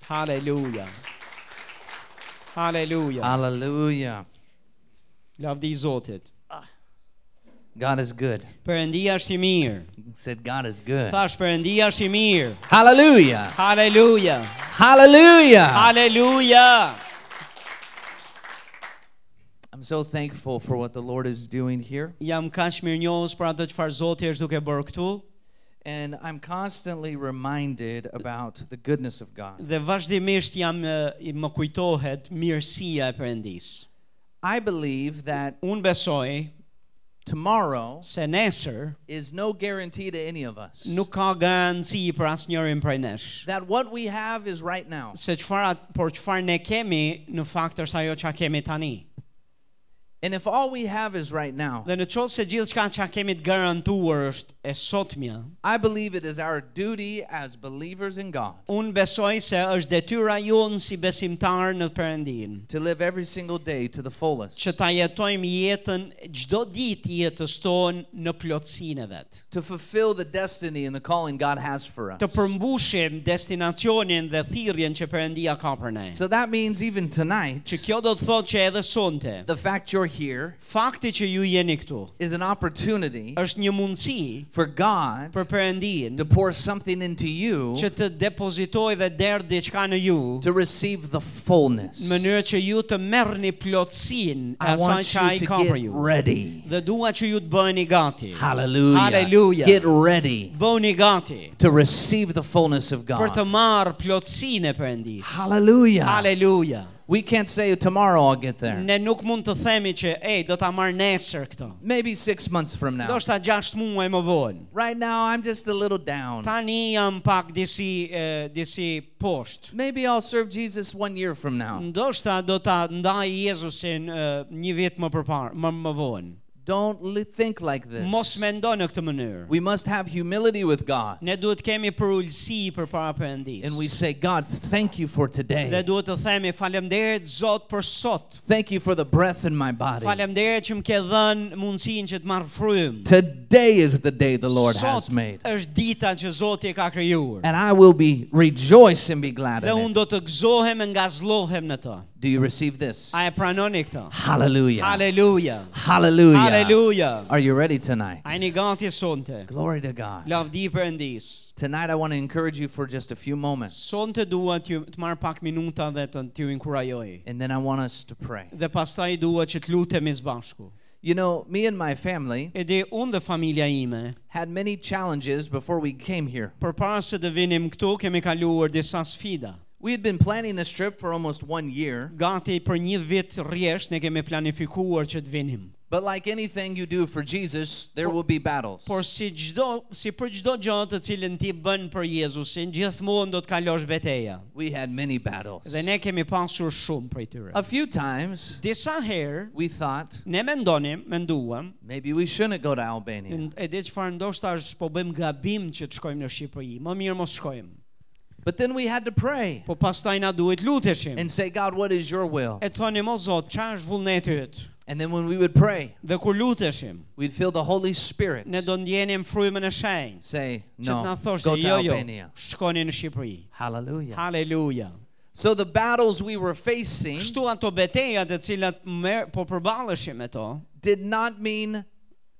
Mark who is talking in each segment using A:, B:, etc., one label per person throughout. A: Hallelujah. Hallelujah.
B: Hallelujah.
A: Lavdi i Zotit.
B: God is good.
A: Perëndia është i mirë.
B: Said God is good.
A: Thash Perëndia është i mirë.
B: Hallelujah.
A: Hallelujah.
B: Hallelujah.
A: Hallelujah.
B: I'm so thankful for what the Lord is doing here.
A: Jam kaq mirënjohës për atë çfarë Zoti është duke bërë këtu
B: And I'm constantly reminded about the goodness of God.
A: dhe vazhdimisht jam e, i- më kujtohet mirësia e Perëndisë.
B: I believe that
A: Unë besoj
B: tomorrow
A: se nesër
B: is no guarantee to any of us.
A: nuk ka garanci për asnjërin prej nesh.
B: That what we have is right now.
A: Se çfarë at- por çfarë ne kemi në fakt është ajo çka kemi tani.
B: And if all we have is right now,
A: Dhe në qovë se gjithë shka që kemi të garantuar është e sotmja,
B: I believe it is our duty as believers in God
A: unë besoj se është detyra jonë si besimtar në përëndin,
B: to live every single day to the fullest,
A: që ta jetojmë jetën, gjdo dit jetës tonë në plotësin e vetë.
B: to fulfill the destiny and the calling God has for us.
A: Të përmbushim destinacionin dhe thirrjen që përëndia ka për ne.
B: So that means even tonight,
A: Që kjo do të thotë që edhe sonte,
B: the fact you're here
A: fakti që ju jeni këtu,
B: is an opportunity
A: është një mundësi
B: for God
A: për përëndin
B: to pour something into you
A: që të depozitoj dhe derdh diçka në ju,
B: to receive the fullness.
A: në mënyrë që ju të merrni plotësinë e
B: I
A: asaj
B: want
A: që ai
B: you to
A: ka për
B: get
A: ju.
B: ready.
A: Dhe dua që ju të bëheni gati.
B: Hallelujah.
A: Hallelujah.
B: Get ready
A: Bëhuni gati
B: to receive the fullness of
A: për të
B: God.
A: marrë plotësinë e Perëndisë.
B: Hallelujah.
A: Halleluja.
B: We can't say tomorrow I'll get there.
A: Ne nuk mund të themi që, ej, do ta marr nesër këtë.
B: Maybe six months from now.
A: Do shta 6 muaj më vonë.
B: Right now, I'm just a little down.
A: Tani jam pak disi e, disi poshtë.
B: Maybe I'll serve Jesus one year from
A: Mm.
B: now.
A: Ndoshta do ta ndaj Jezusin e, një vit më përpar, më më vonë.
B: Don't li- think like
A: Mos
B: this.
A: mendo në këtë mënyrë.
B: We must have humility with God.
A: Ne duhet kemi përulësi për para përëndis.
B: And we say, God, thank you for
A: Dhe
B: today.
A: duhet të themi falemderit Zot për sot.
B: Thank you for the breath in my body.
A: Falemderit që më ke dhënë mundësinë që të marr frymë.
B: Today is the day the Lord has
A: Sot
B: made.
A: është dita që Zoti e ka krijuar.
B: And I will be rejoice and be glad
A: Dhe unë
B: in it.
A: do të gëzohem e ngazllohem në të.
B: Do you receive this?
A: A e pranoni këtë?
B: Hallelujah.
A: Haleluja.
B: Hallelujah.
A: Haleluja.
B: Are you ready tonight?
A: A jeni gati sonte?
B: Glory to God.
A: Lavdi përëndis.
B: Tonight, I want to encourage you for just a few moments.
A: Sonte dua t'ju të marr pak minuta dhe të t'ju inkurajoj.
B: And then I want us to pray.
A: Dhe pastaj dua që të lutemi së bashku.
B: You know, me and my family
A: E di unë dhe familja ime
B: had many challenges before we came here.
A: Për para se të vinim këtu, kemi kaluar disa sfida.
B: We had been planning this trip for almost one year,
A: Gati për një vit rresht ne kemi planifikuar që të vinim.
B: but like anything you do for Jesus, there will be battles.
A: Por si çdo, si për çdo gjë të cilën ti bën për Jezusin, gjithmonë do të kalosh betejë.
B: We had many battles.
A: Dhe ne kemi pasur shumë prej tyre.
B: A few times
A: Disa herë
B: we thought
A: ne mendonim, menduam,
B: maybe we shouldn't go to Albania,
A: n- e di çfarë ndoshta është po bëjmë gabim që të shkojmë në Shqipëri. Më mirë mos shkojmë.
B: but then we had to pray
A: Po pastaj na duhet luteshim.
B: and say, God, what is your will?
A: E thonim o Zot, çfarë është vullneti yt?
B: And then when we would pray,
A: Dhe kur luteshim,
B: we'd feel the Holy Spirit
A: ne do ndjenim frymën e shenjtë.
B: say,
A: Që të na
B: No, go
A: thoshte,
B: to
A: jo, jo,
B: Albania.
A: shkoni në Shqipëri.
B: Hallelujah.
A: Haleluja.
B: So the battles we were facing
A: Kështu ato betejat e cilat mer, po përballeshim me to,
B: did not mean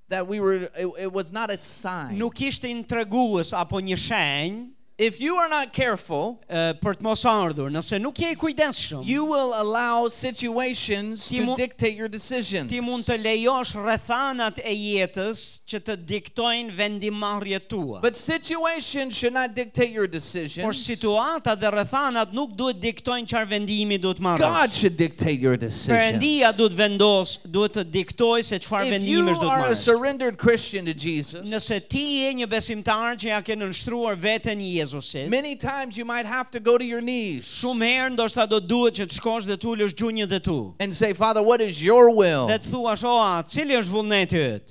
B: that we were it, it was not a sign
A: nuk ishte një tregues apo një shenjë
B: if you are not careful
A: e, për të mos ardhur. Nëse nuk je i kujdesshëm,
B: you will allow situations
A: Ti
B: to
A: mu-
B: dictate your decisions
A: ti mund të lejosh rrethanat e jetës që të diktojnë vendimarrjet tua.
B: but situations should not dictate your
A: Por
B: decisions
A: situata dhe rrethanat nuk duhet diktojnë çfarë vendimi duhet
B: god
A: marrësh.
B: should dictate your decisions
A: Perëndia duhet vendos, duhet të diktoj se çfarë
B: if you
A: vendimesh do të
B: are a
A: marrësh.
B: surrendered christian to jesus
A: Nëse ti je një besimtar që ja ke nënshtruar veten Jezusit,
B: many times you might have to go to your knees
A: shumë herë ndoshta do duhet që të shkosh dhe të ulësh gjunjët e tu.
B: and say father what is your will
A: Dhe të thuash, "O, a, cili është vullneti yt?"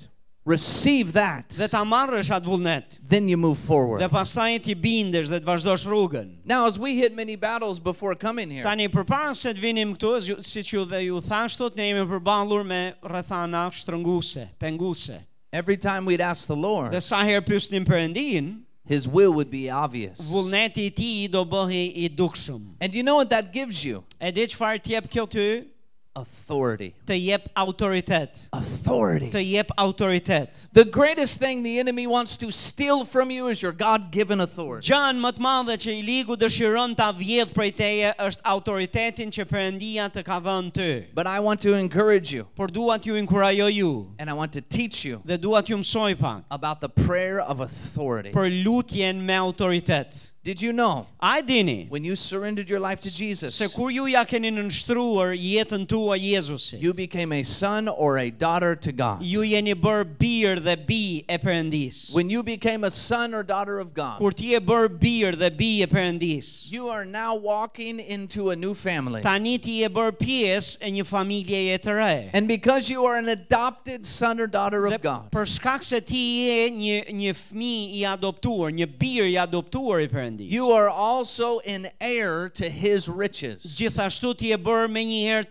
B: receive that
A: Dhe ta marrësh atë vullnet.
B: then you move
A: Dhe
B: forward
A: pastaj ti bindesh dhe të vazhdosh rrugën.
B: now as we hit many battles before coming here
A: Tani përpara se të vinim këtu, as ju- siç ju dhe ju thash sot, ne jemi përballur me rrethana shtrënguese, penguese.
B: Every time we'd ask the
A: Dhe
B: Lord,
A: sa herë pyesnim Perëndin,
B: His will would be obvious.
A: vullneti i tij do bëhej i dukshëm.
B: And you know what that gives you?
A: E di çfarë të jep kjo ty?
B: Authority.
A: Të jep autoritet. Të
B: Authority.
A: jep autoritet.
B: The greatest thing the enemy wants to steal from you is your God given authority.
A: Gjan më të madhe që i ligu dëshiron ta vjedh prej teje është autoritetin që Perëndia të ka dhënë ty.
B: But I want to encourage you
A: Por dua t'ju inkurajoj ju
B: and I want to teach you
A: dhe dua t'ju mësoj pak
B: about the prayer of authority.
A: për lutjen me autoritet.
B: Did you know
A: A e dini
B: when you surrendered your life to Jesus,
A: se kur ju ja keni nënshtruar jetën tuaj Jezusit,
B: you became a son or a daughter to God?
A: ju jeni bërë bir dhe bi e Perëndisë.
B: When you became a son or daughter of God,
A: Kur ti je bërë bir dhe bi e Perëndisë,
B: you are now walking into a new family.
A: tani ti je bërë pjesë e një familjeje të re.
B: And because you are an adopted son or daughter
A: Dhe
B: of God,
A: për shkak se ti je një një fëmijë i adoptuar, një bir i adoptuar i Perëndisë.
B: you are also an heir to his riches.
A: Gjithashtu ti je bërë me një herë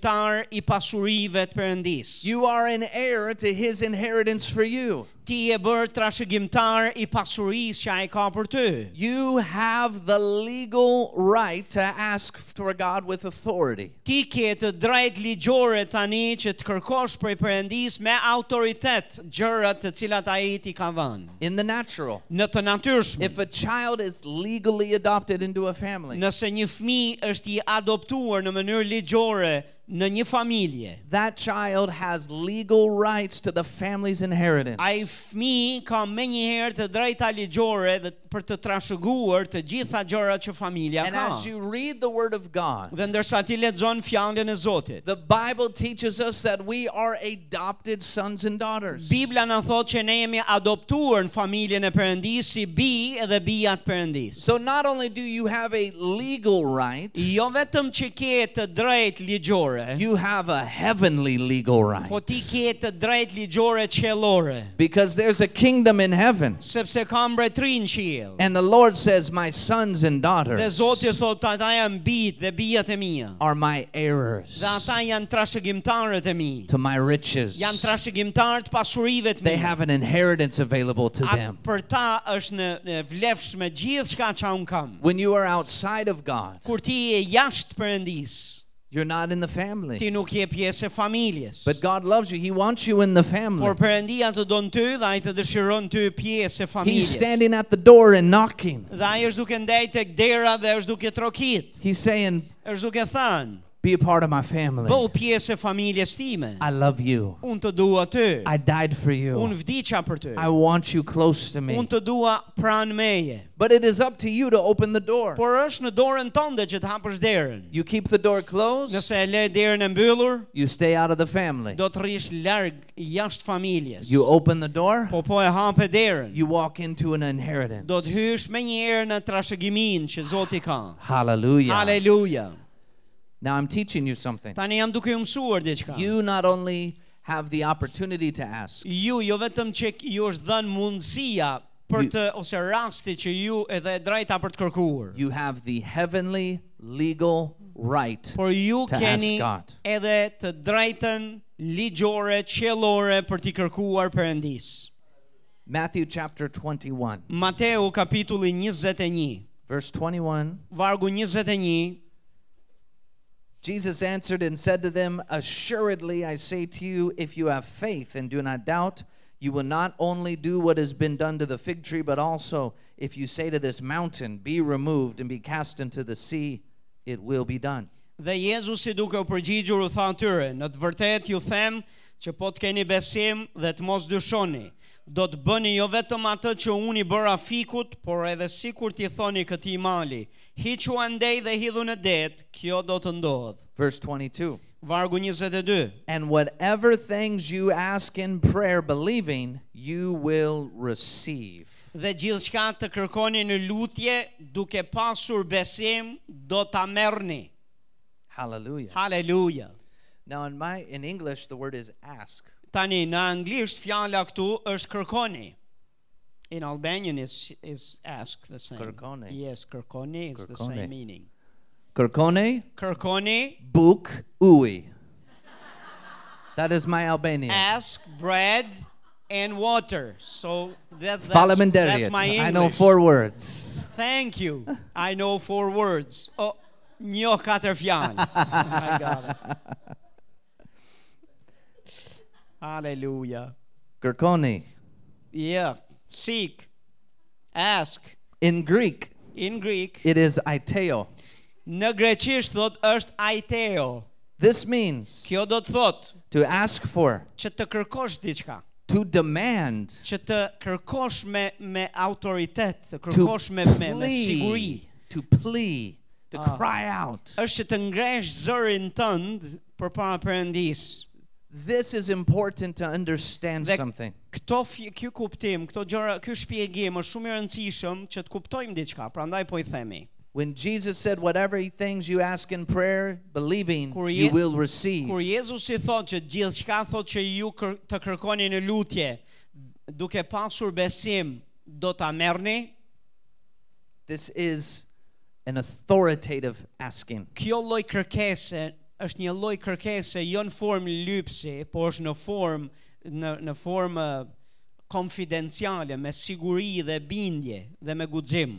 A: trashëgimtar i pasurive të Perëndisë.
B: You are an heir to his inheritance for you.
A: Ti je bërë trashëgimtar i pasurisë që ai ka për ty.
B: You have the legal right to ask for God with authority.
A: Ti ke të drejtë ligjore tani që të kërkosh prej Perëndisë me autoritet gjërat të cilat ai ti ka dhënë.
B: In the natural,
A: Në të natyrshme,
B: if a child is legally adopted into a family,
A: nëse një fëmijë është i adoptuar në mënyrë ligjore në një familje,
B: that child has legal rights to the family's inheritance.
A: ai fëmijë ka më njëherë të drejta ligjore dhe për të trashëguar të gjitha gjërat që familja
B: and
A: ka.
B: as you read the Word of God,
A: Dhe ndërsa ti lexon fjalën e Zotit,
B: the Bible teaches us that we are adopted sons and daughters.
A: Bibla na thotë që ne jemi adoptuar në familjen e Perëndisë si bi edhe bija të Perëndisë.
B: So not only do you have a legal right,
A: Jo vetëm që ke të drejtë ligjore,
B: you have a heavenly
A: po
B: legal right.
A: ti ke të drejtë ligjore qellore,
B: Because there's a kingdom in heaven.
A: sepse ka mbretëri në qiell.
B: And the Lord says, My sons
A: Dhe
B: and daughters
A: Zoti thotë ata janë bijt dhe bijat e mia.
B: are my heirs
A: Dhe ata janë trashëgimtarët e mi.
B: to my riches.
A: Janë trashëgimtarë të pasurive të
B: They
A: mi.
B: have an inheritance available to
A: A,
B: them.
A: për ta është në, në vlefshme gjithë shka që unë kam.
B: When you are outside of God,
A: Kur ti je jashtë përëndis,
B: you're not in the family.
A: ti nuk je pjesë e familjes.
B: But God loves you. He wants you in the
A: Por
B: family.
A: përëndia të donë ty dhe ai të dëshiron ty pjesë e
B: He's
A: familjes.
B: standing at the door and knocking.
A: Dhe ai është duke ndaj tek dera dhe është duke trokit.
B: He's saying,
A: Është duke thënë,
B: Be a part of my
A: bëu
B: family.
A: pjesë e familjes time.
B: I love you.
A: Unë të dua ty.
B: I died for you.
A: Unë vdiqa për ty.
B: I want you close to me.
A: Unë të dua pranë meje.
B: But it is up to you to open the door.
A: Por është në dorën tënde që të hapësh derën.
B: You keep the door closed,
A: Nëse e le derën e mbyllur,
B: you stay out of the family.
A: do të rrish larg jashtë familjes.
B: You open the door,
A: Po po e hape derën.
B: you walk into an inheritance.
A: Do të hysh me njëherë në trashëgimin që Zoti ka.
B: Hallelujah.
A: Aleluja.
B: Now I'm teaching you something.
A: Tani jam duke ju mësuar diçka.
B: You not only have the opportunity to ask,
A: ju jo vetëm që k- ju është dhënë mundësia për
B: Ju-
A: të ose rasti që ju edhe e drejta për të kërkuar.
B: you have the heavenly legal right.
A: Por ju
B: to ask
A: keni
B: God.
A: edhe të drejtën ligjore, qellore për t'i kërkuar Perëndis.
B: Matthew chapter 21,
A: Mateu kapitulli 21,
B: verse 21.
A: vargu 21,
B: Jesus answered and said to them, Assuredly, I say to you, if you have faith and do not doubt, you will not only do what has been done to the fig tree, but also if you say to this mountain, Be removed and be cast into the sea, it will be done.
A: Dhe Jezusi duke u përgjigjur u tha atyre, në të vërtet ju them që po të keni besim dhe të mos dyshoni, do të bëni jo vetëm atë që unë i bëra fikut, por edhe sikur t'i thoni këtij mali, hiqu andej dhe hidhu në det, kjo do të ndodhë.
B: Verse 22
A: Vargu 22.
B: And whatever things you ask in prayer, believing, you will receive.
A: Dhe gjithçka të kërkoni në lutje, duke pasur besim, do ta merrni.
B: Hallelujah.
A: Haleluja.
B: Now, in, my, in English, the word is ask.
A: Tani në anglisht fjala këtu është kërkoni. In Albanian is is ask the same.
B: Kërkoni.
A: Yes, kërkoni is the
B: Kërkoni.
A: same meaning.
B: Kërkone
A: Kërkoni,
B: Buk Ui. That is my Albanian.
A: ask bread and water. So that, that's, that's
B: Faleminderit.
A: my English.
B: I know four words.
A: Thank you. I know four words. Oh, njoh katër fjalë. I got it. Hallelujah.
B: Kërkoni.
A: Yeah. Seek. Ask.
B: In Greek,
A: In Greek,
B: it is aiteo.
A: në greqisht thot është aiteo.
B: This means
A: Kjo do të thot
B: to ask for,
A: që të kërkosh diçka,
B: to demand,
A: që të kërkosh me me autoritet, të
B: to
A: kërkosh me me, me siguri.
B: plea, to plea, to
A: Ah.
B: cry out.
A: Është që të ngresh zërin tënd përpara Perëndisë.
B: This is important to understand
A: Dhe-
B: something.
A: Këto fj- ky kuptim, këto gjëra, ky shpjegim është shumë i rëndësishëm që të kuptojmë diçka, prandaj po i themi.
B: When Jesus said, Whatever things you ask in prayer, believing,
A: Kur
B: you
A: Je-
B: will receive.
A: Kur Jezusi thot që gjithçka thot që ju kër, të kërkoni në lutje, duke pasur besim, do ta merrni.
B: This is an authoritative asking.
A: Kjo lloj kërkese është një lloj kërkese jo në formë lypsi, por është në formë në në formë eh, konfidenciale me siguri dhe bindje dhe me guxim.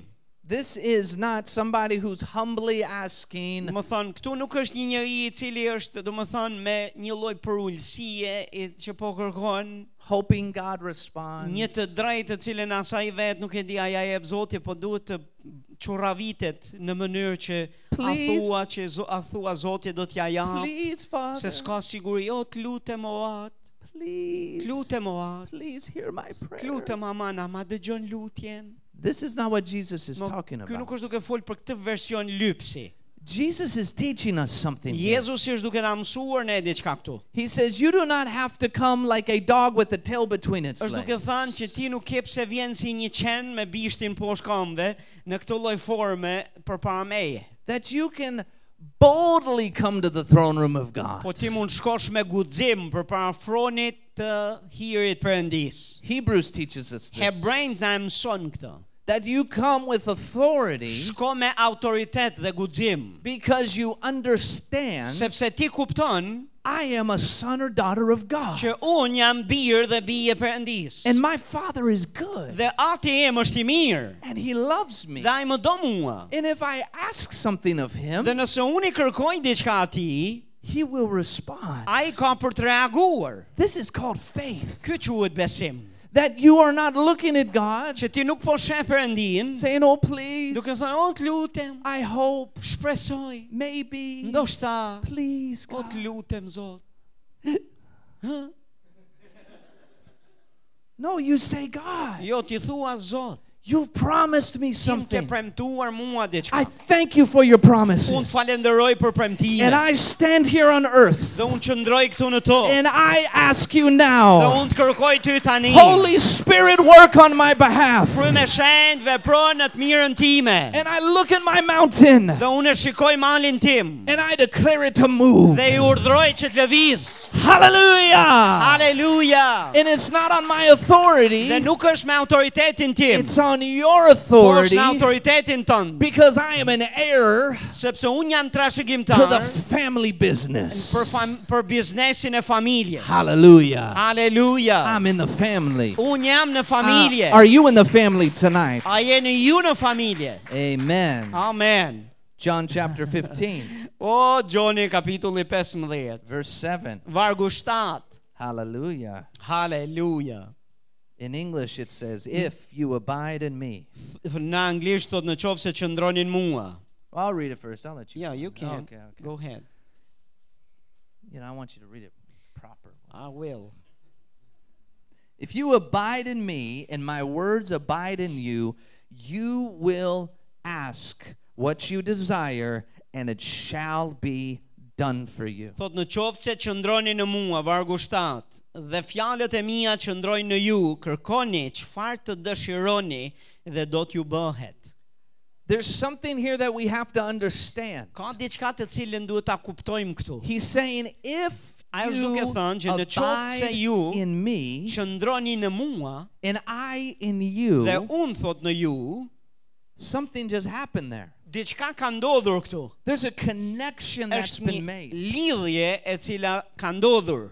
B: This is not somebody who's humbly asking,
A: Do më thonë, këtu nuk është një njeri i cili është, do më thonë, me një loj përullësie i që po kërkon
B: hoping God responds.
A: një të drejtë të cilën asaj vetë nuk e di aja e zoti, po duhet të quravitet në mënyrë që a
B: Please.
A: thua, që zo- a thua zoti do t'ja jap,
B: Please, Father.
A: se s'ka siguri, o t'lutem o atë,
B: please.
A: t'lutem o atë,
B: Please hear my prayer.
A: t'lutem aman, ama dëgjon lutjen.
B: This is not what Jesus is
A: Mo,
B: talking
A: Ky nuk
B: about.
A: është duke fol për këtë version lypsi.
B: Jesus is teaching us something. here.
A: Jezusi është duke na mësuar ne diçka këtu.
B: He says, You do not have to come like a dog with the tail between its
A: është duke
B: legs.
A: thënë që ti nuk ke pse vjen si një qen me bishtin poshtë këmbëve në këtë lloj forme përpara meje.
B: That you can boldly come to the throne room of God.
A: Po ti mund shkosh me guxim përpara fronit të hirit perëndis.
B: Hebrews teaches us this.
A: Hebrejt na e mëson këtë.
B: That you come with authority
A: Shko me autoritet dhe guxim,
B: because you understand
A: sepse ti kupton
B: I am a son or daughter of God.
A: që un jam bir dhe bije e perëndis.
B: And my father is good.
A: Dhe ati im është i mirë.
B: And he loves me.
A: Dhe ai më do mua.
B: And if I ask something of
A: Dhe
B: him,
A: nëse unë i kërkoj diçka atij,
B: he will respond.
A: ai ka për të reaguar.
B: This is called faith.
A: Ky quhet besim.
B: That you are not looking at God
A: që ti nuk po sheh Perëndin,
B: saying, Oh, please,
A: duke thënë o të lutem,
B: I hope,
A: shpresoj,
B: maybe,
A: ndoshta,
B: please,
A: o
B: God.
A: të lutem Zot.
B: No, you say, God,
A: Jo ti thua Zot,
B: you've promised me
A: ti më ke
B: something.
A: premtuar mua diçka.
B: I thank you for your
A: Unë
B: promises.
A: falenderoj për
B: And
A: premtimin.
B: I stand here on earth
A: Dhe unë qëndroj këtu në to.
B: and I ask you
A: Dhe
B: now,
A: unë të kërkoj ty tani.
B: Holy Spirit, work on my behalf.
A: Frymë e shenjtë vepro në të mirën time.
B: And I look at my mountain
A: Dhe unë e shikoj malin tim.
B: and I declare it to move.
A: Dhe i urdhroj që të lëviz.
B: Hallelujah!
A: Aleluja.
B: And it's not on my authority.
A: Dhe nuk është me autoritetin tim,
B: It's on your
A: por është
B: authority
A: me autoritetin tënd.
B: because I am an heir
A: sepse unë jam
B: to the
A: trashëgimtar
B: family
A: për
B: business.
A: fam, për biznesin e familjes.
B: Hallelujah.
A: Haleluja.
B: I'm in the family.
A: Unë jam në
B: Uh,
A: familje.
B: are you in the family tonight?
A: A jeni ju në familje?
B: Amen.
A: Amen.
B: John chapter 15,
A: O Gjoni kapitulli 15,
B: verse 7.
A: vargu 7.
B: Hallelujah.
A: Haleluja.
B: In English, it says, If you abide in me.
A: Në anglisht thot në qovë se qëndronin mua.
B: I'll read it first. I'll let you.
A: Yeah, you
B: read it.
A: can.
B: Okay, okay.
A: Go ahead.
B: You know, I want you to read it proper.
A: I will.
B: If you abide in me and my words abide in you, you will ask what you desire and it shall be done for you.
A: Thot në qovë se qëndroni në mua, vargu 7, dhe fjalët e mia qëndrojnë në ju, kërkoni çfarë të dëshironi dhe do t'ju bëhet.
B: There's something here that we have to understand.
A: Ka diçka të cilën duhet ta kuptojmë këtu.
B: He's saying, if
A: Ai është
B: you
A: duke thënë që në qoftë se
B: abide
A: ju-
B: in me
A: Qëndroni në mua
B: and I in
A: dhe
B: you,
A: unë thot në ju,
B: something just happened there.
A: diçka ka ndodhur këtu.
B: There's a connection that's
A: Është një
B: been made.
A: lidhje e cila ka ndodhur.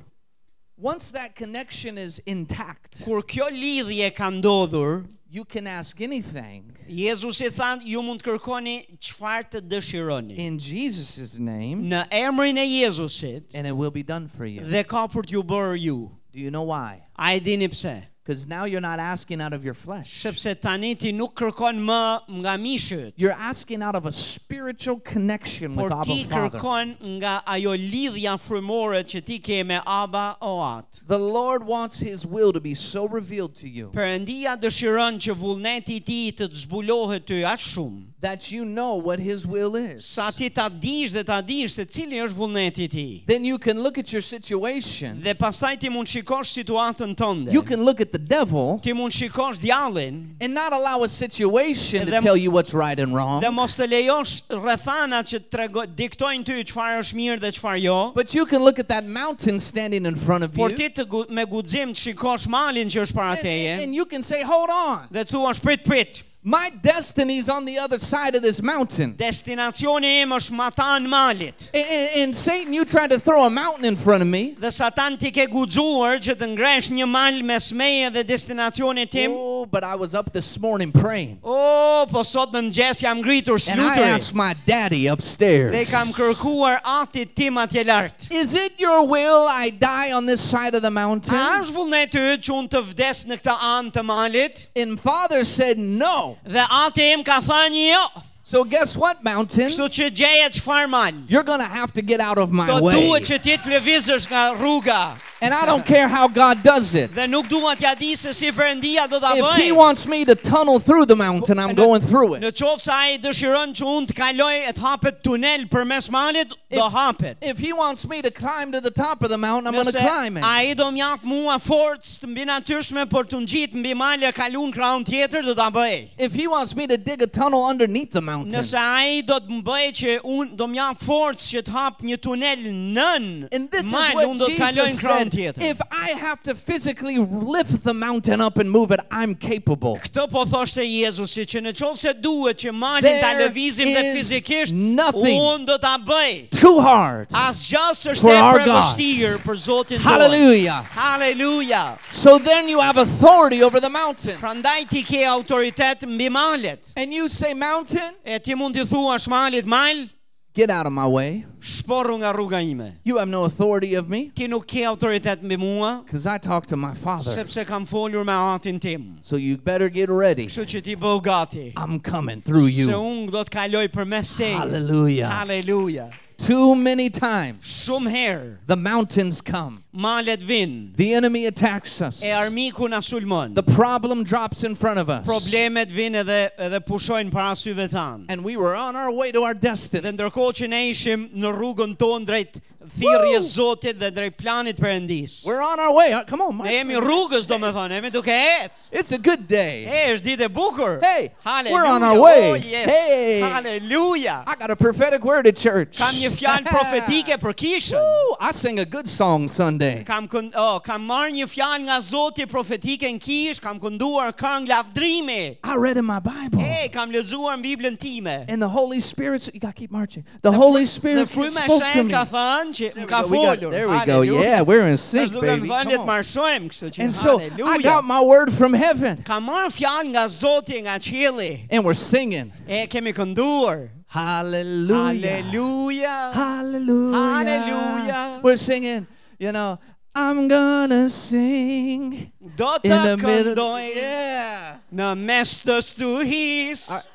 B: Once that connection is intact,
A: Kur kjo lidhje ka ndodhur,
B: you can ask anything
A: Jezusi tha, ju mund të kërkoni çfarë të dëshironi.
B: in Jesus' name
A: Në emrin e Jezusit
B: and it will be done for you.
A: dhe ka për t'ju bërë ju.
B: Do you know why?
A: A e dini pse?
B: Because now you're not asking out of your flesh.
A: Sepse tani ti nuk kërkon më nga mishët,
B: You're asking out of a spiritual connection
A: por
B: with Abba
A: ti
B: Father.
A: kërkon nga ajo lidhja frymore që ti ke me Aba o Atë.
B: The Lord wants His will to be so revealed to you
A: Perëndia dëshiron që vullneti i tij të të zbulohet ty aq shumë
B: that you know what His will is.
A: sa ti ta dish dhe ta dish se cili është vullneti i tij.
B: Then you can look at your situation.
A: Dhe pastaj ti mund shikosh situatën tënde.
B: You can look at the devil
A: Ti mund shikosh djallin
B: and not allow a situation to
A: Them-
B: tell you what's right and
A: dhe
B: wrong.
A: mos të lejosh rrethana që trego, diktojnë ty çfarë është mirë dhe çfarë jo.
B: But you can look at that mountain standing in front of
A: Por
B: you
A: ti të gu, me guxim të shikosh malin që është para
B: and,
A: teje.
B: and you can say, Hold on,
A: Dhe thua prit prit.
B: my destiny's on the other side of this mountain.
A: Destinacioni im është matan malit.
B: And, and- and Satan, you tried to throw a mountain in front of me.
A: Dhe Satan ti ke guxuar që të ngresh një mal mes meje dhe destinacionit tim.
B: Oh, but I was up this morning praying.
A: Oh, po sot në mëngjes jam ngritur
B: And I asked
A: slutëri
B: my daddy
A: dhe
B: upstairs.
A: kam kërkuar atit tim atje lart.
B: Is it your will I die on this side of the
A: A
B: mountain?
A: është vullneti yt që unë të vdes në këtë anë të malit?
B: And father said no.
A: Dhe ati im ka thënë jo.
B: So guess what, mountain?
A: Kështu që gjeje çfarë mal.
B: You're going to have to get out of
A: Do
B: my
A: duhet
B: way.
A: që ti të lëvizësh nga rruga
B: And I don't care how God does it.
A: dhe nuk dua t'ja di se si Perëndia do ta
B: If he
A: bëjë.
B: wants me to tunnel through the mountain,
A: Në-
B: I'm going through it.
A: Në qovë se ai dëshiron që unë të kaloj e të hapet tunel për mes malit, do
B: If-
A: hapet.
B: If he wants me to climb to the top of the mountain, I'm going to
A: Nëse
B: climb it.
A: ai do mjap mua forcë të mbi natyrshme për të ngjit mbi male kalun kraun tjetër, do ta bëj.
B: If he wants me to dig a tunnel underneath the mountain,
A: Nëse ai do të më bëj që unë do mjap forcë që të hap një tunel nën
B: And this is
A: mal, unë
B: what
A: do të kaloj
B: Jesus
A: në kraun
B: said.
A: tjetër.
B: If I have to physically lift the mountain up and move it, I'm capable.
A: Këtë po thoshte Jezusi që në qovë se duhet që malin
B: There
A: ta lëvizim dhe
B: is
A: fizikisht,
B: nothing.
A: unë do ta bëj.
B: Too hard.
A: Asgjë s'është
B: For
A: e
B: our God.
A: përvështirë për Zotin tonë.
B: Hallelujah.
A: Haleluja.
B: So then you have authority over the mountain.
A: Prandaj ti ke autoritet mbi malet.
B: And you say, Mountain,
A: E ti mund t'i thuash malit mal,
B: get out of my way.
A: shporru nga rruga ime.
B: You have no authority of me
A: Ti nuk ke autoritet mbi mua,
B: because I talk to my Father.
A: sepse kam folur me atin tim.
B: So you better get ready.
A: Kështu që ti bëu gati.
B: I'm coming through
A: Se
B: you.
A: unë do të kaloj për mes teje.
B: Hallelujah.
A: Haleluja.
B: Too many times
A: Shumë herë
B: the mountains come,
A: malet vinë.
B: the enemy attacks us,
A: E armiku na sulmon.
B: the problem drops in front of us.
A: Problemet vinë edhe edhe pushojnë para syve tanë.
B: and we were on our way to our
A: Dhe
B: destiny.
A: ndërkohë që ne ishim në rrugën tonë drejt thirrjes Zotit dhe drejt planit Perëndis.
B: We're on our way. Uh, Come on,
A: Ne jemi
B: Mike.
A: rrugës do me thonë, jemi duke ecë.
B: It's a good day.
A: E, është ditë e bukur.
B: Hey,
A: Haleluja.
B: we're on our way.
A: Oh, yes.
B: Hey.
A: Haleluja.
B: I got a prophetic word at church.
A: Kam një fjalë profetike për kishën.
B: Woo, I sang a good song Sunday.
A: Kam kënd, oh, kam marrë një fjalë nga Zoti profetike në kish, kam kënduar këngë lavdrimi.
B: I read in my Bible.
A: E, kam lexuar në Biblën time.
B: And the Holy Spirit, you got to keep marching. The Holy
A: Dhe
B: Spirit
A: fryma e
B: spoke to
A: shenjtë
B: me.
A: ka thënë që më
B: There we
A: ka
B: go, we got-
A: folur.
B: there we go. Yeah, we're in
A: Është
B: sync,
A: duke
B: baby.
A: më thënë le
B: Come
A: të
B: on.
A: marshojmë, kështu që
B: And so I
A: haleluja.
B: got my word from heaven.
A: Ka marrë fjalë nga Zoti nga qielli.
B: And we're singing.
A: E kemi kënduar.
B: Hallelujah.
A: Haleluja.
B: Hallelujah.
A: Hallelujah.
B: We're singing, you know, I'm gonna sing
A: Do të
B: in the middle.
A: këndoj
B: Yeah.
A: në mes të stuhis.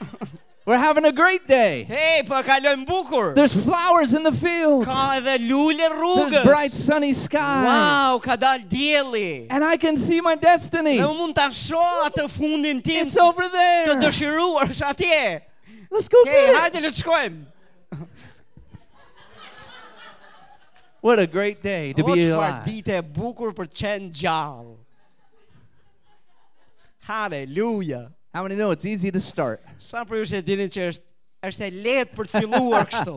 B: We're having a great day.
A: Hey, po e kalojmë bukur.
B: There's flowers in the field.
A: Ka edhe lule
B: There's
A: rrugës.
B: bright sunny skies.
A: Wow, ka dalë dielli.
B: And I can see my destiny.
A: Dhe unë mund ta shoh atë fundin tim
B: It's over
A: të
B: there.
A: dëshiruar është atje.
B: Let's go
A: Hey,
B: get it.
A: hajde le të shkojmë.
B: What a great day to
A: O
B: be
A: çfarë
B: alive.
A: dite e bukur për të qenë gjallë. Haleluja.
B: How many know it's easy to start?
A: Sa për ju që e dini që është është e lehtë për të filluar kështu.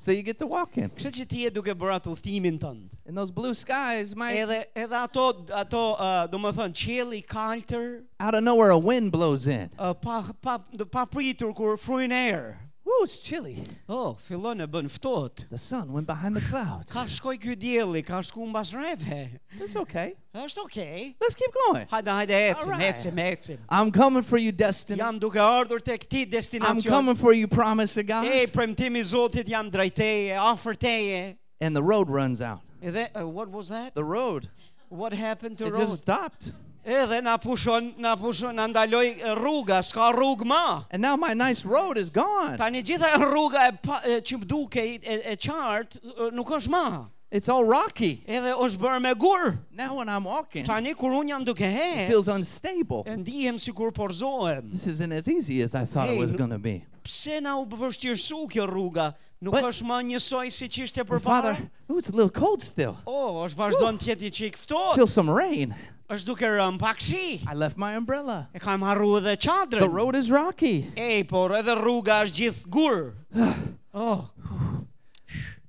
B: So you get to walk in.
A: Kështu që ti je duke bërë atë udhimin tënd.
B: And those blue skies might
A: Edhe edhe ato ato uh, do të thonë qielli i kaltër,
B: out of nowhere a wind blows in.
A: uh, pa pa do pa pritur kur fryn erë.
B: Woo, Oh, it's chilly.
A: Oh, fillon e bën ftohtë.
B: The sun went behind the clouds.
A: Ka shkoj ky dielli, ka shku mbas rreve.
B: It's okay.
A: Është okay.
B: Let's keep going.
A: Hajde, hajde, ecim,
B: Alright.
A: ecim, ecim.
B: I'm coming for you, destiny.
A: Jam duke ardhur tek ti
B: I'm
A: destinacion.
B: coming for you, promise of God.
A: Ej, premtimi i Zotit jam drejteje, afër teje.
B: And the road runs out.
A: Edhe uh, what was that?
B: The road.
A: What happened to
B: It
A: road?
B: just stopped.
A: Edhe na pushon, na pushon, na ndaloj e, rruga, s'ka rrugë më.
B: And now my nice road is gone.
A: Tani gjitha rruga e, pa, e që më duke e, e qartë e, nuk është më.
B: It's all rocky.
A: Edhe është bërë me gur.
B: Now when I'm walking, it
A: Tani kur un jam duke
B: feels
A: hecë,
B: unstable.
A: e ndihem sikur porzohem.
B: This isn't as easy as I thought it
A: Hey,
B: was
A: no-
B: going to be.
A: Pse na u vështirësu kjo rruga? Nuk
B: But-
A: është më njësoj siç ishte
B: But Father,
A: përpara.
B: ooh, it's a little cold still.
A: Oh, është vazhdon të jetë i çik ftohtë.
B: Feel some rain.
A: Është duke rënë pak shi.
B: I left my umbrella.
A: E kam harru edhe
B: The
A: çadrën.
B: road is rocky.
A: Ej, por edhe rruga është gjithë gur. Oh,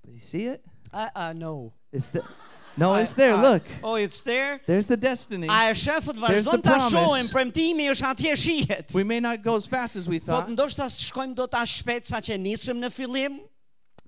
B: You see it?
A: I I know.
B: It's the No,
A: I-
B: it's there.
A: I-
B: Look.
A: Oh, it's there.
B: There's the destiny.
A: A e shefët
B: There's the
A: vazhdon ta
B: promise.
A: shohim, premtimi është atje shihet.
B: We may not go as fast as we
A: Po
B: thought,
A: ndoshta shkojmë do ta shpejt sa që nisëm në fillim,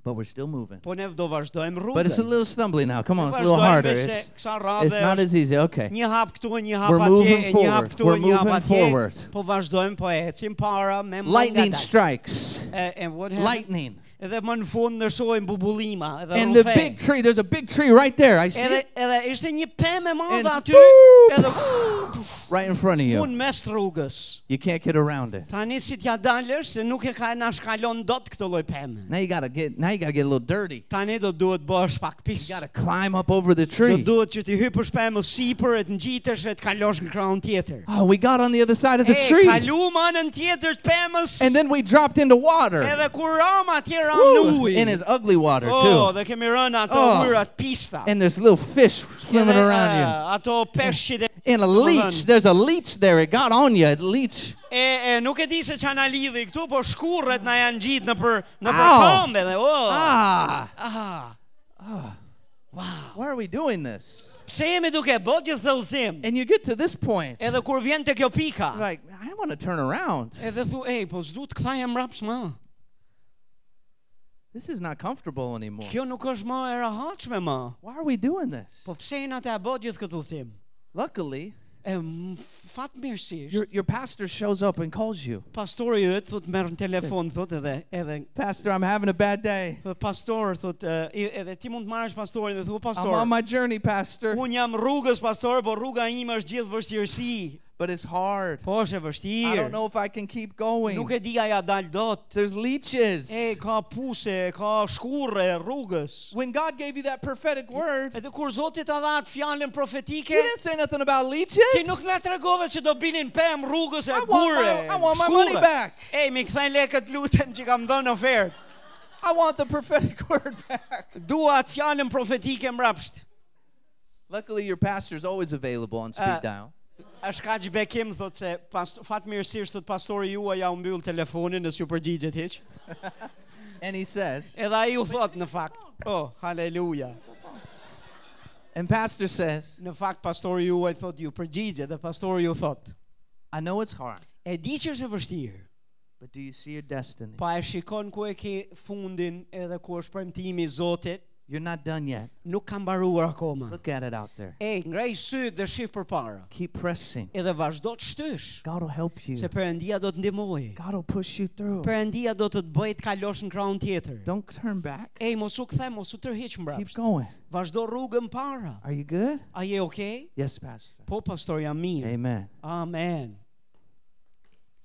B: but we're still moving.
A: po ne do vazhdojmë
B: But it's a
A: rrugën.
B: little stumbling now. Come on, it's a little harder.
A: Vazhdojmë se
B: It's,
A: kësa
B: it's
A: radhe
B: not
A: është
B: as easy. Okay.
A: një hap këtu, një hap
B: We're
A: atje,
B: moving
A: e një hap
B: forward.
A: këtu,
B: We're
A: e një hap
B: moving
A: atje.
B: forward.
A: Po vazhdojmë, po ecim para me më
B: Lightning
A: nga dalë.
B: strikes.
A: E- And what happened?
B: Lightning.
A: Edhe më në fund në shohim bubullima, edhe
B: And the
A: rrufe.
B: big tree. There's a big tree right there. I see
A: Edhe
B: it
A: edhe ishte një pemë e madhe
B: And
A: aty,
B: boop!
A: edhe
B: right in front of
A: unë
B: you.
A: mes rrugës.
B: You can't get around it.
A: Tani si t'ja dalësh se nuk e ka na shkalon dot këtë lloj pemë.
B: Now you gotta get. Now you gotta get a little dirty.
A: Tani do duhet bësh pak pis.
B: You gotta climb up over the
A: Do
B: tree.
A: duhet që ti hypësh pemës sipër, e të ngjitesh e të kalosh në krahun tjetër.
B: Oh, we got on the other side of the
A: e,
B: tree,
A: kaluam anën tjetër të pemës.
B: and then we dropped into water.
A: edhe kur ram atje ram në
B: Woo!
A: ujë.
B: And it's ugly water
A: oh,
B: too.
A: dhe kemi rënë ato
B: Oh.
A: oh. myrat pista.
B: And there's little fish swimming
A: Edhe,
B: around you.
A: eh, Ato peshqit e,
B: And a leech. There's a leech there. It got on you. A leech.
A: e, e nuk e di se çan na lidhi këtu, po shkurret na janë gjitë në për në për
B: Au.
A: këmbë dhe oh.
B: Ah.
A: Ah.
B: Why are we doing this?
A: Pse jemi duke bërë gjithë këtë udhim?
B: And you get to this point.
A: Edhe kur vjen te kjo pika.
B: Like, I want to turn around.
A: Edhe thu, ej, po s'du të kthaj mbrapsht më.
B: This is not comfortable anymore.
A: Kjo nuk është më e rehatshme më.
B: Why are we doing this?
A: Po pse jena të bë gjithë këtë udhim?
B: Luckily,
A: E m- fatmirësisht.
B: your, your pastor shows up and calls you.
A: Pastori yt thot merr në telefon thot edhe edhe
B: Pastor, I'm having a bad day.
A: thot pastor thot e, i- edhe ti mund të marrësh pastorin dhe thu
B: I'm
A: pastor.
B: on my journey, pastor.
A: Un jam rrugës pastor, po rruga ime është gjithë vështirësi.
B: But it's hard.
A: Po është e
B: I don't
A: vështirë.
B: know if I can keep
A: Nuk
B: going.
A: e di a ja dal dot.
B: There's leeches.
A: E ka puse, ka shkurre rrugës.
B: When God gave you that prophetic word,
A: Edhe kur Zoti ta dha atë fjalën
B: He
A: profetike,
B: didn't say nothing about
A: Ti nuk
B: leeches.
A: na tregove që do binin pem rrugës e
B: I want
A: gure.
B: my- I want my money
A: shkurre.
B: back.
A: Ej, mi kthej lekët lutem që kam dhënë ofertë.
B: I want the prophetic word back.
A: Dua atë fjalën profetike mbrapsht.
B: Luckily, your pastor's always available on speed
A: Uh,
B: dial.
A: Është kaq bekim thotë se pas, fatmirësisht thot pastori juaj ja u mbyll telefonin nësë ju përgjigjet hiç.
B: And he says,
A: Edhe ai u thot në fakt. Oh, haleluja.
B: and pastor says,
A: Në fakt pastori juaj thot ju përgjigjet dhe pastori ju thot.
B: I know it's hard,
A: E di që është e vështirë,
B: but do you see your destiny?
A: pa e shikon ku e ke fundin edhe ku është premtimi i Zotit,
B: You're not done yet.
A: nuk ka mbaruar akoma.
B: Look at it out there.
A: E, ngrej syt dhe shif për para
B: Keep pressing.
A: Edhe vazhdo të shtysh
B: God will help you.
A: Se përëndia do të ndimoj
B: God will push you through.
A: Përëndia do të të bëjt kalosh në kraun tjetër
B: Don't turn back.
A: Ej, mos u kthe, mos u tërhiq
B: Keep
A: mbrapsht
B: going.
A: Vazhdo rrugën para
B: Are you good?
A: A je okay?
B: Yes, pastor.
A: Po, pastor, jam mirë
B: Amen.
A: Amen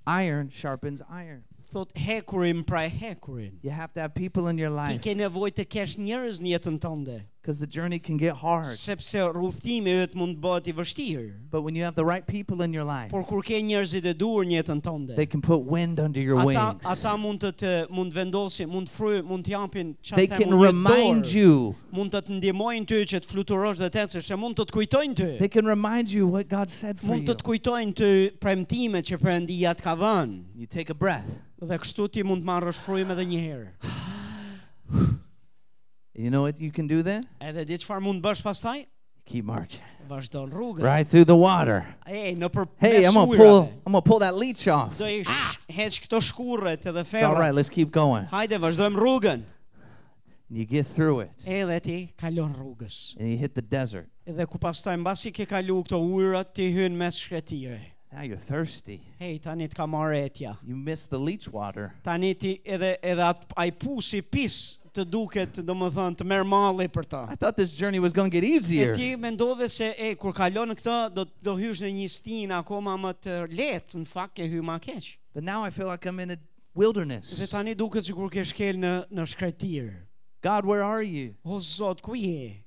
B: Iron sharpens iron.
A: Thot hekurim pra hekurin
B: You have to have people in your
A: Ti
B: life
A: ke nevoj të kesh njerëz në jetën tënde
B: because the journey can get hard.
A: Sepse rrudhimi yt mund të bëhet i vështirë
B: But when you have the right people in your life,
A: Por kur ke njerëzit e duhur në jetën tënde
B: they can put wind under your
A: Ata,
B: wings.
A: ata mund të, të mund të vendosin, mund të fryjë, mund të japin çfarë
B: They can remind you.
A: mund të të ndihmojnë ty që të fluturosh dhe të ecësh, e mund të të kujtojnë ty.
B: They jo. can remind you what God said for
A: Mund të
B: you.
A: të kujtojnë ty premtimet që Perëndia të ka dhënë.
B: You take a breath.
A: Dhe kështu ti mund të marrësh frymën edhe një herë.
B: You know what you can do then?
A: Edhe di çfarë mund të bësh pastaj?
B: You Keep marching.
A: Vazhdon rrugën.
B: Right through the water.
A: Ej, në përmes
B: Hey, I'm gonna pull I'm gonna pull that leech off.
A: Do i sh- heq këto shkurret edhe
B: It's all right,
A: ferrat.
B: let's keep going.
A: Hajde, vazhdojmë rrugën.
B: You get through it.
A: Edhe ti kalon rrugës.
B: And you hit the desert.
A: Edhe ku pastaj mbasi ke kalu këto ujërat ti hyn mes shkretire.
B: Now you're thirsty.
A: Hej, tani të ka marrë etja.
B: You miss the leech water.
A: Tani ti edhe edhe at, ai pusi pis të duket, domethënë të merr malli për ta.
B: I thought this journey was gonna get
A: E
B: easier.
A: ti mendove se e kur kalon këtë do do hysh në një stin akoma më të lehtë, në fakt ke hy më keq.
B: But now I feel like I'm in a
A: Dhe
B: wilderness.
A: tani duket sikur ke shkel në në shkretir.
B: God, where are you?
A: O Zot, ku je?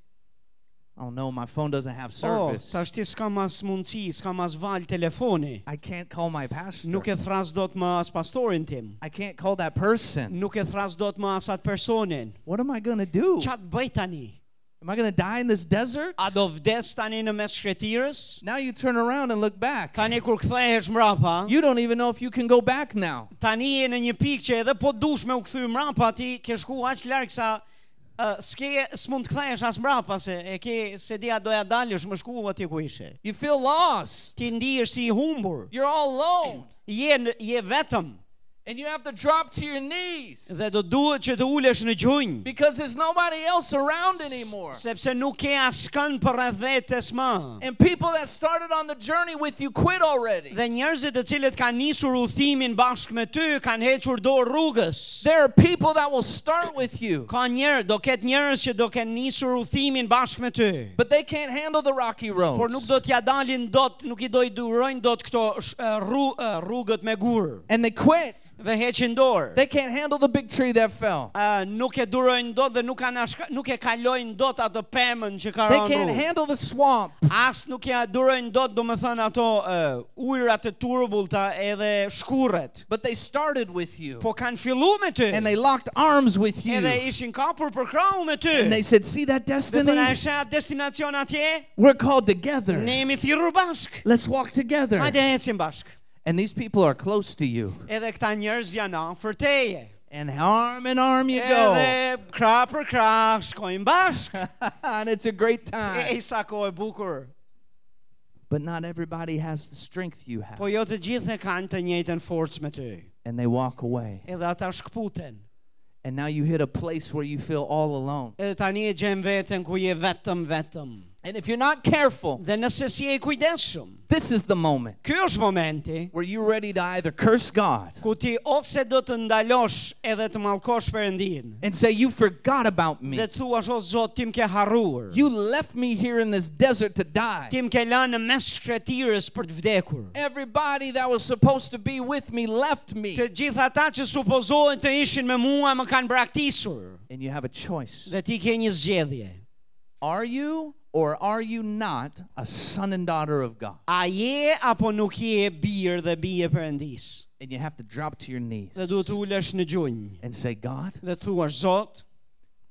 B: Oh no, my phone doesn't have
A: O,
B: service.
A: tash ti s'ka mas mundësi, s'ka mas val telefoni.
B: I can't call my pastor.
A: Nuk e thras dot më as pastorin tim.
B: I can't call that person.
A: Nuk e thras dot më as atë personin.
B: What am I gonna do?
A: Qa të bëj tani?
B: Am I gonna die in this desert?
A: A do vdes tani në mes shkretirës?
B: Now you turn around and look back.
A: Tani kur kthehesh mrapa,
B: You don't even know if you can go back now.
A: tani je në një pikë që edhe po dush me u kthy mrapa ti ke shku aq larg sa uh, s'ke s'mund të kthehesh as mrapa se e ke se dia doja dalësh më shku atje ku ishe.
B: You feel lost.
A: Ti ndihesh si i humbur.
B: You're all alone.
A: Je në- je vetëm
B: And you have to drop to your knees
A: dhe do duhet që të ulesh në gjunjë.
B: because there's nobody else around anymore.
A: sepse nuk ke askën për rreth vetes më.
B: And people that started on the journey with you quit already.
A: Dhe njerëzit të cilët kanë nisur udhimin bashkë me ty kanë hequr dorë rrugës.
B: There are people that will start with you,
A: Ka njerë, do ketë njerëz që do kenë nisur udhimin bashkë me ty.
B: but they can't handle the rocky roads.
A: Por nuk do t'ja dalin dot, nuk i do i durojnë dot këto sh- e, rru- e, rrugët me gurë
B: And they quit.
A: dhe heqin dorë.
B: They can't handle the big tree that fell.
A: Uh, nuk e durojnë dot dhe nuk kanë ashka, nuk e kalojnë dot ato pemën që ka
B: They
A: rënë
B: can't
A: rrugë.
B: handle the swamp.
A: As nuk ja durojnë dot, do me thënë ato uh, ujrat e turbullta edhe shkurret.
B: But they started with you.
A: Po kanë fillu me ty.
B: And they locked arms with you.
A: Edhe ishin kapur për krahu me ty.
B: And they said, See that
A: Dhe thënë, "A
B: destiny?
A: është atë destinacion atje?
B: We're called together.
A: Ne jemi thirrur bashk.
B: Let's walk together.
A: Hajde ecim bashk.
B: And these people are close to you.
A: Edhe këta njerëz janë afër teje.
B: And arm in arm you go.
A: Edhe krah për krah shkojnë bashk.
B: and it's a great time.
A: E sa kohë e bukur.
B: But not everybody has the strength you have.
A: Po jo të gjithë e kanë të njëjtën forcë me ty.
B: And they walk away.
A: Edhe ata shkputen.
B: And now you hit a place where you feel all alone.
A: Edhe tani e gjen veten ku je vetëm vetëm.
B: And if you're not careful,
A: Dhe nëse si je i kujdesshëm,
B: this is the moment
A: ky është momenti
B: where you're ready to either curse God
A: ku ti ose do të ndalosh edhe të mallkosh Perëndin.
B: and say, You forgot about me.
A: Dhe thua o Zot, ti më ke harruar.
B: You left me here in this desert to die.
A: Ti më ke lënë në mes shkretirës për të vdekur.
B: Everybody that was supposed to be with me left me.
A: Të gjithë ata që supozohen të ishin me mua më kanë braktisur.
B: And you have a choice.
A: Dhe ti ke një zgjedhje.
B: Are you or are you not a son and daughter of God?
A: A je apo nuk je birë dhe bie Perëndis?
B: And you have to drop to your knees
A: Dhe duhet të ulesh në gjunjë.
B: and say, God,
A: Dhe thua Zot,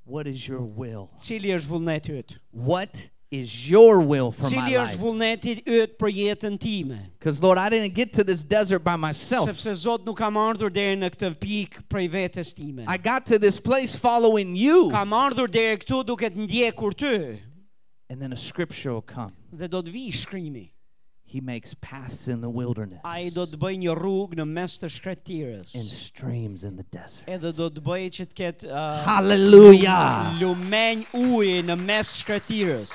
B: what is your will?
A: cili është vullneti yt?
B: What is your will for my
A: Cili është
B: life?
A: vullneti yt për jetën time?
B: Because, Lord, I didn't get to this desert by myself.
A: Sepse Zot nuk kam ardhur deri në këtë pikë prej vetes time.
B: I got to this place following you.
A: Kam ardhur deri këtu duke të ndjekur ty.
B: And then a scripture will come.
A: Dhe do të vi shkrimi.
B: He makes paths in the wilderness
A: Ai do të bëj një rrugë në mes të shkretirës.
B: and streams in the desert.
A: Edhe do të bëj që të ketë uh,
B: Hallelujah.
A: lumenj uji në mes shkretirës.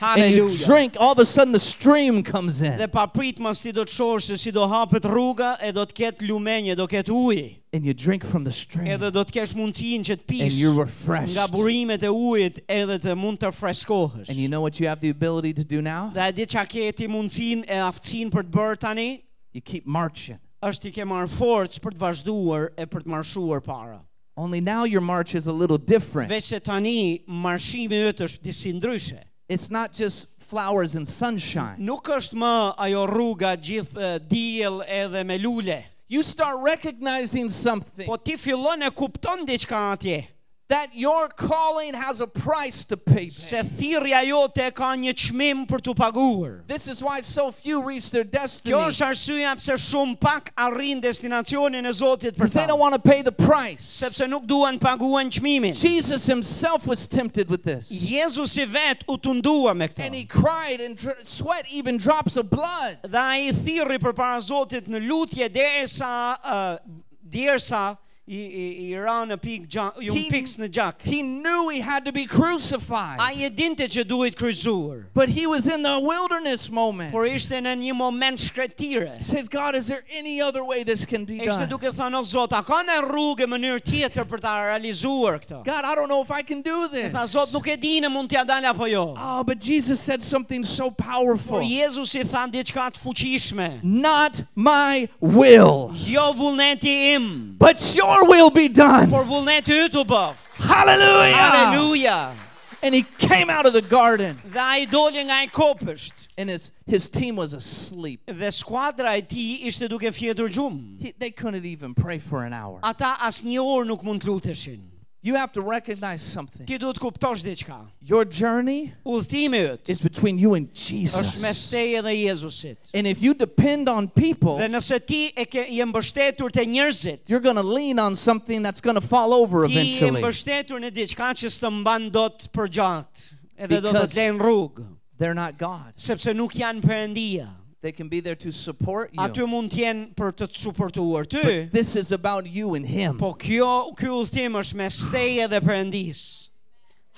B: And you
A: Haleluja.
B: drink, all of a sudden the stream comes
A: Dhe
B: in.
A: pa pritmas ti do të shohësh se si do hapet rruga e do të ketë lumenje, do ketë uji.
B: And you drink from the
A: Edhe
B: stream
A: do të kesh mundësinë që të
B: and
A: pish
B: you're refreshed.
A: nga burimet e ujit edhe të mund të freskohesh.
B: And you know what you have the ability to do now?
A: Dhe a di çka ke ti mundësinë e aftësinë për të bërë tani?
B: You keep marching.
A: është i ke marrë forcë për të vazhduar e për të marshuar para.
B: Only now your march is a little different.
A: Veç se tani marshimi yt është disi ndryshe.
B: It's not just flowers and sunshine.
A: Nuk është më ajo rruga gjithë e, diell edhe me lule.
B: You start recognizing something
A: Po ti fillon e kupton diçka atje.
B: that your calling has a price to pay.
A: se thirrja jote ka një çmim për t'u paguar.
B: This is why so few reach their destiny.
A: Kjo është arsyeja pse shumë pak arrin destinacionin e Zotit për
B: Because
A: ta.
B: they don't want to pay the price.
A: Sepse nuk duan paguan çmimin.
B: Jesus himself was tempted with this.
A: Jezusi vet u tundua me
B: And he
A: këtë.
B: cried and dr- sweat even drops of blood.
A: Dhe ai thirri përpara Zotit në lutje derisa uh, derisa i, i, i ra në pikë gjak, ju
B: He-
A: piks në gjak.
B: He knew he had to be crucified.
A: Ai e dinte që duhet kryzuar,
B: But he was in the wilderness moment.
A: por ishte në një moment shkretire.
B: He says, God, is there any other way this can be
A: Ishte
B: done?
A: duke thënë o Zot, a ka në rrugë e mënyrë tjetër për ta realizuar këtë?
B: God, I don't know if I can do this.
A: Tha Zot nuk e di në mund t'ja dal apo jo.
B: Oh, but Jesus said something so
A: Por
B: powerful.
A: Jezusi tha diçka të fuqishme.
B: Not my will,
A: Jo vullneti im,
B: but your will be done.
A: por vullneti yt u bëft.
B: Hallelujah!
A: Aleluja.
B: And he came out of the garden,
A: Dhe ai doli nga ai kopësht
B: and his, his team was asleep.
A: dhe skuadra e tij ishte duke fjetur gjumë.
B: He, they couldn't even pray for an hour.
A: Ata asnjë orë nuk mund të luteshin.
B: You have to recognize something.
A: Ti duhet kuptosh diçka.
B: Your journey
A: Udhëtimi yt
B: is between you and
A: është mes
B: Jesus.
A: teje dhe Jezusit.
B: And if you depend on
A: Dhe
B: people,
A: nëse ti e ke je mbështetur te njerëzit,
B: you're going to lean on something that's going to fall over
A: ti je
B: eventually.
A: mbështetur në diçka që s'të mban dot për gjatë, edhe do të
B: Because-
A: të lënë rrugë.
B: They're not God.
A: sepse nuk janë perëndia.
B: They can be there to support
A: Aty
B: you.
A: mund të jenë për të të suportuar ty,
B: But this is about you and Him.
A: po kjo ky udhtim është mes teje dhe perëndis.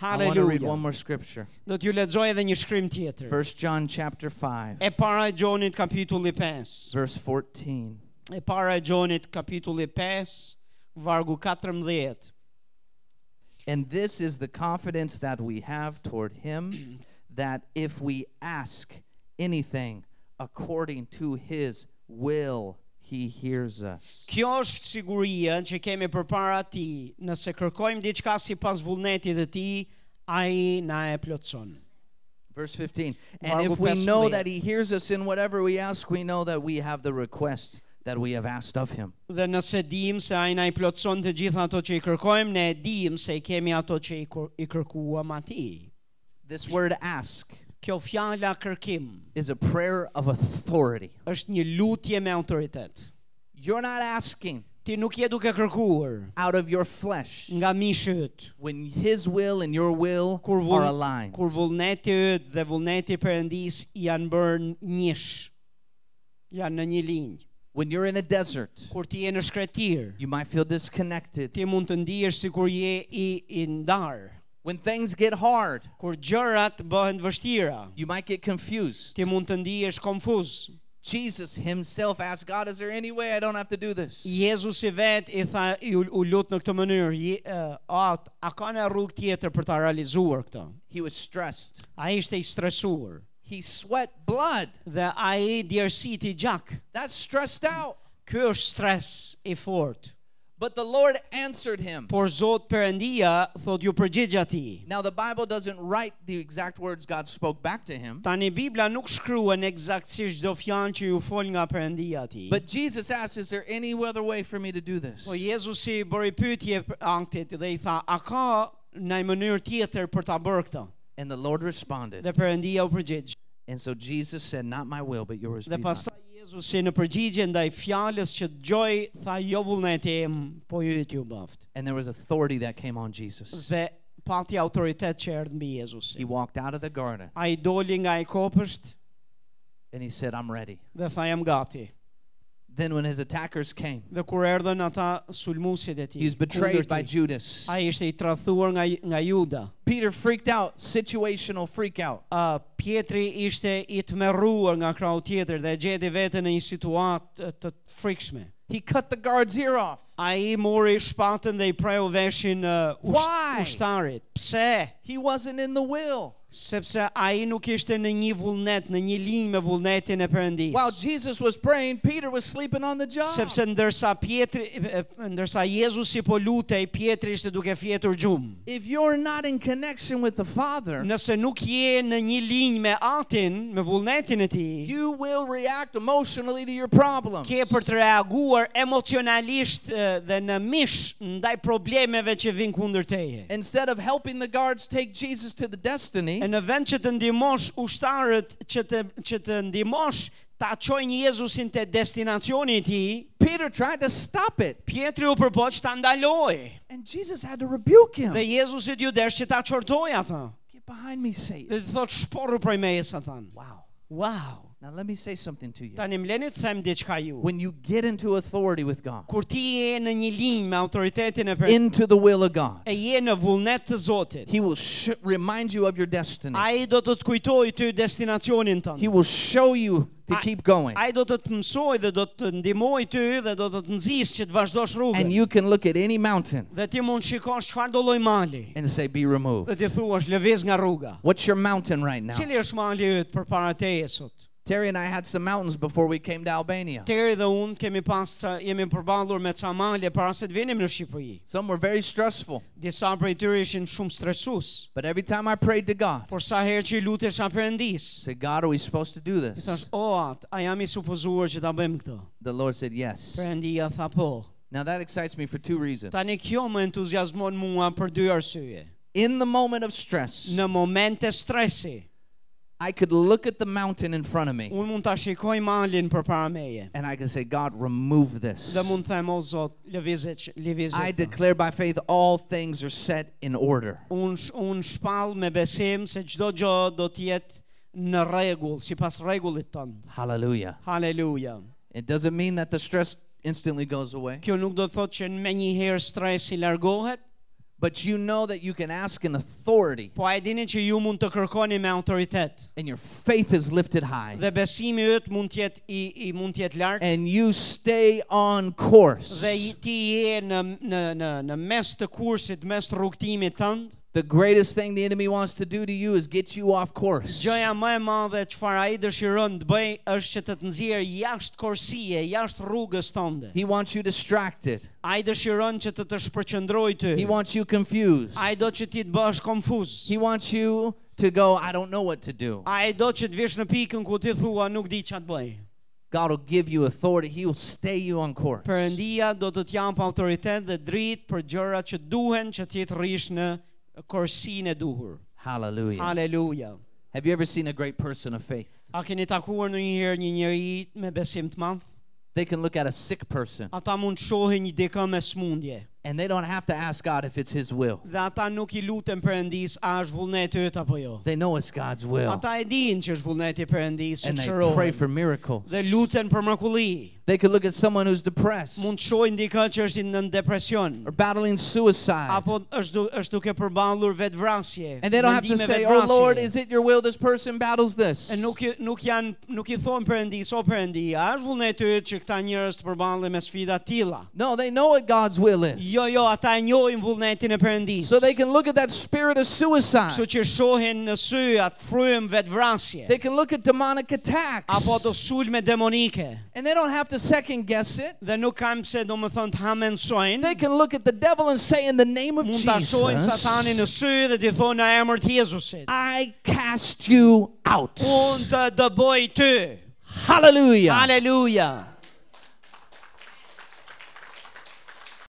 B: I want to read
A: Halleluja.
B: one more scripture.
A: Do t'ju lexoj edhe një shkrim tjetër.
B: First John chapter 5,
A: E para e Gjonit kapitulli 5.
B: verse 14.
A: E para e Gjonit kapitulli 5, vargu 14.
B: And this is the confidence that we have toward him that if we ask anything according to his will, he hears us.
A: Kjo është siguria që kemi përpara ti, nëse kërkojmë diçka sipas vullnetit të ti, ai na e plotson.
B: Verse 15. And
A: Marvel
B: if we know
A: Pennsylvania.
B: that he hears us in whatever we ask, we know that we have the request that we have asked of him.
A: Dhe nëse dim se ai na i plotson të gjitha ato që i kërkojmë, ne dim se i kemi ato që i, kur- i kërkuam atij.
B: This word ask
A: Kjo fjala kërkim
B: is a prayer of authority.
A: është një lutje me autoritet.
B: You're not asking
A: Ti nuk je duke kërkuar
B: out of your flesh
A: nga mishi yt,
B: when his will and your will
A: kur
B: are
A: vull,
B: aligned.
A: kur vullneti yt dhe vullneti i Perëndis janë bërë njësh. Janë në një linjë.
B: When you're in a desert,
A: Kur ti je në shkretir,
B: You might feel disconnected.
A: ti mund të ndihesh sikur je i i ndar.
B: When things get hard,
A: Kur gjërat bëhen të vështira,
B: you might get confused.
A: ti mund të ndihesh konfuz.
B: Jesus himself asked God, Is there any way I don't have to do this?
A: Jezusi vet i tha i u, u lut në këtë mënyrë, je- ë, a a ka në rrugë tjetër për ta realizuar këtë?
B: He was stressed.
A: Ai ishte i stresuar
B: He sweat blood.
A: dhe ai djersiti gjak.
B: That's stressed out.
A: Ky është stres i fortë.
B: But the Lord answered him.
A: Por Zot Perëndia thot ju përgjigj atij.
B: Now, the Bible doesn't write the exact words God spoke back to him,
A: Tani Bibla nuk shkruan eksaktësisht çdo fjalë që ju fol nga Perëndia atij.
B: but Jesus asked, Is there any other way for me to do this?
A: Po Jezusi bëri pyetje për anktit dhe i tha, "A ka në mënyrë tjetër për ta bërë këtë?"
B: And the Lord responded.
A: Dhe Perëndia u përgjigj.
B: And so Jesus said, Not my will, but yours be
A: Dhe
B: done.
A: pastaj Jezusi në përgjigje ndaj fjalës që dëgjoi tha jo vullneti im, po ju ju bëft.
B: And there was authority that came on Jesus.
A: Dhe pati autoritet që erdhi mbi
B: He
A: Jezusin.
B: walked out of the garden
A: Ai doli nga ai kopësht
B: and he said, I'm ready.
A: dhe tha jam gati.
B: Then when his attackers came,
A: Dhe kur erdhën ata sulmuesit e tij,
B: he was betrayed
A: kundër
B: by
A: tij,
B: Judas.
A: ai ishte i tradhuar nga nga Juda.
B: Peter freaked out, situational freak out.
A: Uh, Pietri ishte i tmerruar nga krau tjetër dhe e gjeti veten në një situatë të frikshme.
B: He cut the guard's ear off.
A: Ai mori shpatën dhe i preu veshin uh, usht
B: Why?
A: ushtarit. Pse?
B: He wasn't in the will.
A: sepse ai nuk ishte në një vullnet, në një linjë me vullnetin e
B: While
A: Perëndis.
B: Jesus was praying, Peter was sleeping on the job.
A: Sepse ndërsa Pietri, e, e, ndërsa Jezusi po lutej, Pietri ishte duke fjetur gjumë.
B: If you're not in connection with the Father,
A: Nëse nuk je në një linjë me Atin, me vullnetin e tij,
B: you will react emotionally to your problems.
A: ke për të reaguar emocionalisht e, dhe në mish ndaj problemeve që vijnë kundër teje.
B: Instead of helping the guards take Jesus to the
A: E
B: destiny,
A: në vend që të ndihmosh ushtarët që të që të ndihmosh ta çojnë Jezusin te destinacioni i tij,
B: Peter tried to stop it,
A: Pietri u përpoq ta ndaloi.
B: and Jesus had to rebuke him.
A: Dhe Jezusi ju desh që ta çortoi ata.
B: Get behind me, Satan.
A: Dhe të thot shporru prej meje Satan.
B: Wow.
A: Wow.
B: Now let me say something to you.
A: Tani mleni të them diçka ju.
B: When you get into authority with God,
A: Kur ti je në një linjë me autoritetin e Perëndisë,
B: into the will of God,
A: e je në vullnet të Zotit.
B: He will sh- remind you of your destiny.
A: Ai do të të kujtojë ty destinacionin
B: He
A: tënd.
B: will show you to
A: I-
B: keep going.
A: Ai do të të mësojë dhe do të ndihmojë ty dhe do të të nxjisë që të vazhdosh rrugën.
B: And you can look at any mountain
A: Dhe ti mund shikosh çfarë do lloj mali.
B: and say, Be
A: Dhe
B: removed.
A: ti thuash lëviz nga rruga.
B: What's your mountain right now?
A: Cili është mali yt përpara teje sot?
B: Terry and I had some mountains before we came to Albania.
A: Teri dhe unë kemi pas ca- jemi përballur me ca male para se të vinim në Shqipëri.
B: Some were very stressful,
A: Disa prej tyre ishin shumë stresues.
B: but every time I prayed to God, I
A: Por sa herë që i lutesha Perëndis,
B: said, God, are we supposed to do
A: i
B: this?
A: thash, "O at, a jam i supozuar që ta bëjmë këtë?"
B: The Lord said, Yes.
A: Perëndia tha po.
B: Now that excites me for two reasons.
A: Tani kjo më entuziazmon mua për dy arsye.
B: In the moment of stress,
A: Në momente stresi,
B: I could look at the mountain in front of me
A: unë mund ta shikoj malin përpara meje.
B: and I could say, God, remove this.
A: Dhe mund të them, "O Zot, lëvizet, lëvizet."
B: I
A: ta."
B: declare by faith all things are set in order.
A: unë sh, un shpall me besim se çdo gjë do të jetë në rregull, sipas rregullit tënd.
B: Hallelujah.
A: Haleluja.
B: It doesn't mean that the stress instantly goes away,
A: Kjo nuk do të thotë që me një herë stresi largohet,
B: but you know that you can ask in authority
A: po a e dini që ju mund të kërkoni me autoritet.
B: and your faith is lifted high
A: Dhe besimi yt mund të jetë i, i mund të jetë lart
B: and you stay on course.
A: dhe i- ti je në në në në mes të kursit, mes të rrugtimit tënd.
B: The greatest thing the enemy wants to do to you is get you off course.
A: Gjëja më e madhe çfarë ai dëshiron të bëj është që të të nxjerrë jashtë korsie, jashtë rrugës tënde.
B: He wants you distracted.
A: Ai dëshiron që të të shpërqendrojë ty.
B: He wants you confused.
A: Ai do që ti të bësh konfuz.
B: He wants you to go, I don't know what to do.
A: Ai do që të vish në pikën ku ti thua nuk di ç'a të bëj.
B: God will give you authority. He will stay you on course.
A: Perëndia do të të jap autoritet dhe dritë për gjëra që duhen që ti të rrish në korsinë e duhur.
B: Hallelujah.
A: Haleluja.
B: Have you ever seen a great person of faith?
A: A keni takuar ndonjëherë një njeri me besim të madh?
B: They can look at a sick person
A: Ata mund të shohin një dikë me smundje
B: and they don't have to ask God if it's His will.
A: dhe ata nuk i luten Perëndis a është vullneti yt apo jo.
B: They know it's God's will
A: Ata e dinë që është vullneti i Perëndis që
B: and they pray
A: çrohen
B: for miracles.
A: dhe luten për mrekulli.
B: They could look at someone who's depressed
A: Mund të shohin dikë që është në depresion.
B: or battling suicide
A: apo është du, është duke përballur vetvrasje.
B: and they don't have to
A: mendime
B: say, Oh
A: vetvrasje."
B: Lord, is it your will this person battles
A: E
B: this?
A: nuk i- nuk janë nuk i thon Perëndis, o Perëndi, a është vullneti yt që këta njerëz të përballen me sfida të tilla?
B: No, they know what God's will is.
A: Jo, jo, ata e njohin vullnetin e Perëndis.
B: So they can look at that spirit of
A: Kështu
B: suicide.
A: që shohin në sy atë frym vetvrasje
B: They can look at demonic attacks.
A: apo të sulme demonike
B: And they don't have to second guess it.
A: dhe nuk kam se do më thënë të
B: They
A: hamensojnë
B: can look at the devil and say, In the name of
A: mund ta shohin satanin
B: Jesus,
A: në sy dhe t'i thonë në emër të Jezusit
B: I cast you out.
A: unë të dëboj ty
B: Hallelujah.
A: Haleluja